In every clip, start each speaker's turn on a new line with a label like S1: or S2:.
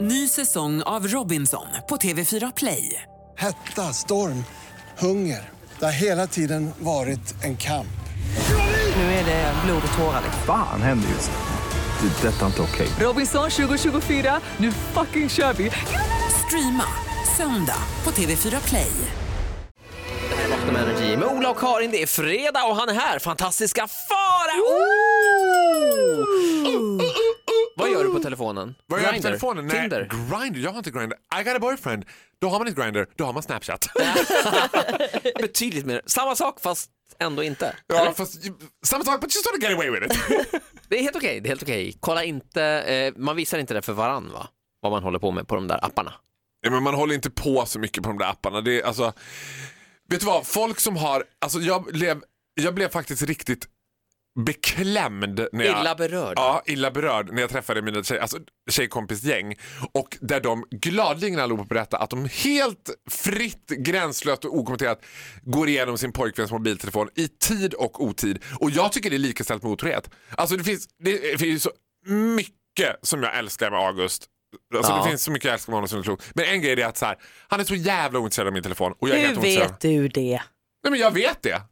S1: Ny säsong av Robinson på TV4 Play.
S2: Hetta, storm, hunger. Det har hela tiden varit en kamp.
S1: Nu är det blod och tårar.
S3: Fan händer just nu. Det. är Detta är inte okej.
S1: Robinson 2024, nu fucking kör vi! Streama söndag på TV4 Play.
S4: Vakna med energi med Ola och Karin. Det är fredag och han är här. Fantastiska fara! Vad gör du på telefonen?
S5: Vad gör jag på
S4: Grindr?
S5: telefonen? Nej,
S4: Tinder?
S5: Grindr? Jag har inte Grindr. I got a boyfriend. Då har man inte Grindr, då har man Snapchat.
S4: Betydligt mer. Samma sak fast ändå inte.
S5: ja,
S4: Eller?
S5: fast, samma sak, but you sort of get away with it.
S4: Det är helt okej. Det är helt okej. Kolla inte, eh, man visar inte det för varann va? Vad man håller på med på de där apparna.
S5: ja, men man håller inte på så mycket på de där apparna. Det är, alltså, vet du vad, folk som har... Alltså, jag, blev, jag blev faktiskt riktigt beklämd. När jag,
S4: Illa berörd.
S5: Ja, illa berörd när jag träffade mina tjej, alltså, tjejkompisgäng och där de gladeligen allihopa berättade att de helt fritt, gränslöst och okommenterat går igenom sin pojkväns mobiltelefon i tid och otid. Och jag tycker det är likaställt med otrohet. Alltså det finns, det finns så mycket som jag älskar med August. Alltså
S4: Ja.
S5: Det finns så mycket jag älskar med honom som är klokt. Men en grej är att så här, han är så jävla ointresserad av min telefon och jag är helt
S6: Hur
S5: ointresserad.
S6: vet du det?
S5: Nej men jag vet det.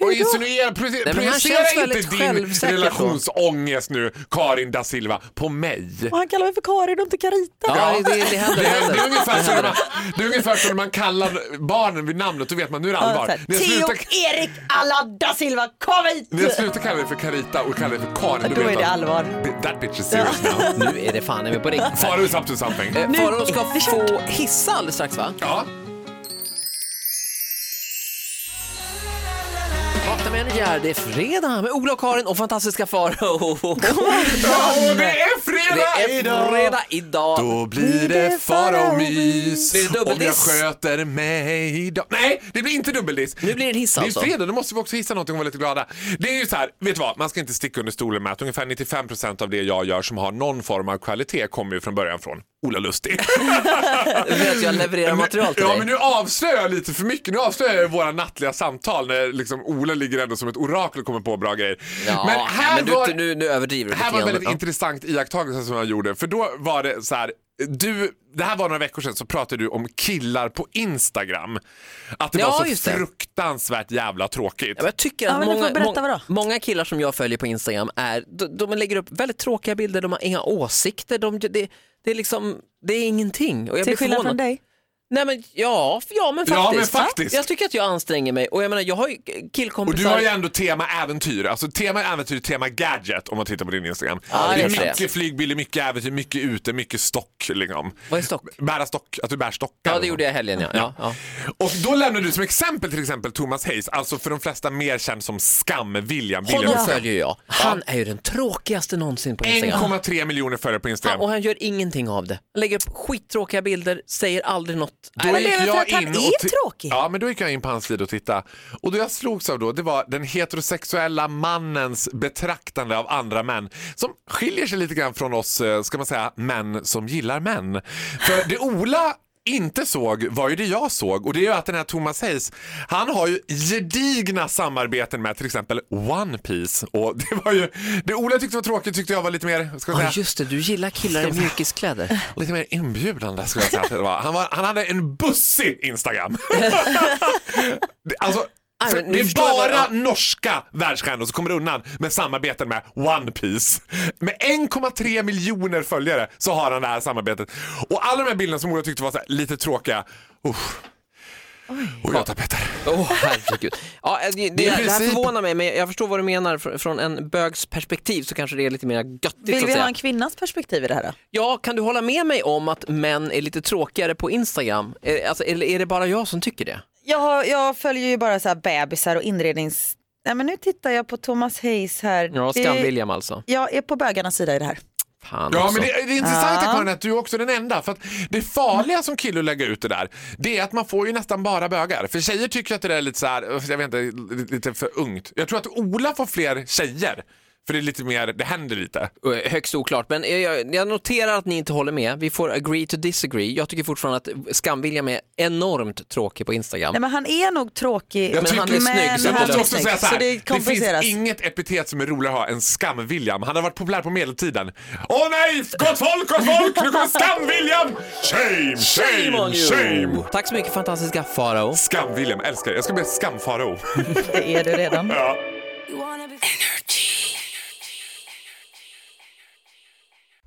S5: och insinuera, pro-
S4: han
S5: projicera
S4: känns
S5: inte
S4: väldigt
S5: din
S4: självsäker då.
S5: relationsångest nu Karin da Silva på mig.
S6: Och han kallar mig för Karin och inte Carita.
S4: Ja, det, det
S5: Det,
S4: händer.
S5: det,
S4: händer.
S5: är ungefär
S4: Det
S5: som när
S4: händer.
S5: man, det är ungefär som när man kallar barnen vid namnet då vet man nu är det
S6: Ja,
S5: allvar.
S6: så här,
S5: När jag
S6: Theo
S5: slutar,
S6: Erik alla da Silva, kom hit!
S5: när jag slutar kalla dig för Carita och kallar dig för Karin
S6: Då
S5: vet
S6: är det
S5: man,
S6: allvar.
S5: That bitch is serious now.
S4: Nu är det fan, är vi på riktigt.
S5: Faro is up to something.
S4: Eh,
S6: Nu
S4: Farao
S6: är
S4: ska
S6: det kört.
S4: få hissa alldeles strax va?
S5: Ja.
S4: Vakna med energi här, det är fredag med Ola och Karin och fantastiska Farao.
S5: Och det är fredag!
S4: Det är fredag idag.
S5: Då blir det fara och mys
S4: Blir det
S5: om jag
S4: dubbeldiss?
S5: sköter mig idag. Nej, det blir inte dubbeldiss.
S4: Nu blir det en hiss alltså.
S5: Det är ju fredag, då måste vi också hissa någonting och vara lite glada. Det är ju så här, vet du vad, man ska inte sticka under stolen med att ungefär 95% av det jag gör som har någon form av kvalitet kommer ju från början från Ola Lustig.
S4: Du vet jag levererar material till
S5: ja,
S4: dig.
S5: men nu avslöjar jag lite för mycket. Nu avslöjar jag våra nattliga samtal när liksom Ola ligger ändå som ett orakel och kommer på bra grejer.
S4: Ja,
S5: men här
S4: men du,
S5: var...
S4: nu, nu överdriver du
S5: Det här var
S4: lite
S5: en
S4: grann.
S5: väldigt intressant iakttagelse som jag gjorde. För då var det så här, du, det här var några veckor sedan så pratade du om killar på Instagram. Att det
S4: Ja,
S5: var
S4: just
S5: så
S4: det.
S5: fruktansvärt jävla tråkigt.
S4: Ja, men jag tycker
S6: Ja,
S4: att
S6: men du får
S4: många,
S6: berätta,
S4: många,
S6: vadå?
S4: många killar som jag följer på Instagram är, de, de lägger upp väldigt tråkiga bilder, de har inga åsikter, de, det, det, är liksom, det är ingenting. Och jag blir
S6: Till skillnad
S4: förvånad.
S6: från dig.
S4: Nej, men, ja, f- ja, men
S5: Ja,
S4: faktiskt.
S5: men faktiskt.
S4: Jag tycker att jag anstränger mig och jag menar, jag har ju
S5: Och
S4: killkompisar.
S5: du har ju ändå tema äventyr, alltså tema äventyr, tema gadget om man tittar på din Instagram.
S4: Ja, det
S5: det är
S4: är det.
S5: mycket flygbilder, mycket äventyr, mycket ute, mycket stock. Liksom.
S4: Vad är stock?
S5: Bära stock, att du bär stockar.
S4: Ja, det gjorde jag i helgen ja. ja, ja.
S5: Och då lämnade du som exempel till exempel Thomas Hayes, alltså för de flesta mer känd som Skam, William.
S4: Honom
S5: William.
S4: följer jag. Han är ju den tråkigaste någonsin på Instagram.
S5: 1,3 miljoner följare på Instagram.
S4: Han, och han gör ingenting av det. Han lägger upp skittråkiga bilder, säger aldrig något.
S5: Då
S4: Nej,
S6: det är
S5: gick
S6: väl för
S5: jag
S6: att han
S5: in
S6: är
S5: och ti-
S6: tråkig.
S5: Ja, men då gick jag in på hans sida och tittade. Och det jag slogs av då, det var den heterosexuella mannens betraktande av andra män som skiljer sig lite grann från oss, eh, ska man säga, män som gillar män. För det Ola inte såg var ju det jag såg och det är ju att den här Thomas Hayes, han har ju gedigna samarbeten med till exempel One Piece och det var ju, det Ola tyckte var tråkigt tyckte jag var lite mer, ska man säga,
S4: Ja, just det, du gillar killar i mjukiskläder.
S5: Lite mer inbjudande skulle jag säga att det var. Han, var, han hade en bussig Instagram. Det- alltså,
S4: Nej,
S5: för
S4: men nu
S5: det är
S4: förstår jag
S5: bara
S4: vad-
S5: norska världsstjärnor som kommer undan med samarbeten med One Piece. Med 1,3 miljoner följare så har han det här samarbetet. Och alla de här bilderna som Ola tyckte var så här, lite tråkiga. Usch. Och jag tar Petter.
S4: Åh herregud. Ja, eh, det, det,
S5: I
S4: det här
S5: princip-
S4: förvånar mig men jag förstår vad du menar. Fr- Från en bögs perspektiv så kanske det är lite mer göttigt. så
S6: Vill
S4: att
S6: vi
S4: säga.
S6: ha en kvinnas perspektiv i det här då?
S4: Ja, kan du hålla med mig om att män är lite tråkigare på Instagram? Eh, Alltså, eller är det bara jag som tycker det?
S6: Jag, har, jag följer ju bara så här bebisar och inrednings... Nej men nu tittar jag på Thomas Hayes här.
S4: Ja,
S6: Det-
S4: Skam-William alltså.
S6: Jag är på bögarnas sida i det här.
S4: Fan
S5: Ja,
S4: också.
S5: men det, det är intressant Karin att du är också den enda. För att det farliga som kille att lägga ut det där, det är att man får ju nästan bara bögar. För tjejer tycker att det där är lite så här, jag vet inte, lite för ungt. Jag tror att Ola får fler tjejer För det är lite mer, det händer lite.
S4: Eh, Högst oklart, men eh, jag, jag noterar att ni inte håller med. Vi får agree to disagree. Jag tycker fortfarande att Skam-William är enormt tråkig på Instagram.
S6: Nej men han är nog tråkig.
S5: Jag
S4: Men han är snygg, så
S5: Jag
S4: det
S5: måste
S4: löser
S5: också säga så här,
S6: det
S5: det, finns
S6: kompenseras.
S5: inget epitet som är roligare att ha än Skam-William. Han har varit populär på medeltiden. Åh nej, gott folk, gott folk, nu kommer Skam-William! Shame, shame, shame!
S4: Tack så mycket fantastiska Farao.
S5: Skam-William, älskar det. Jag ska bli skamfarao.
S6: Det är du redan.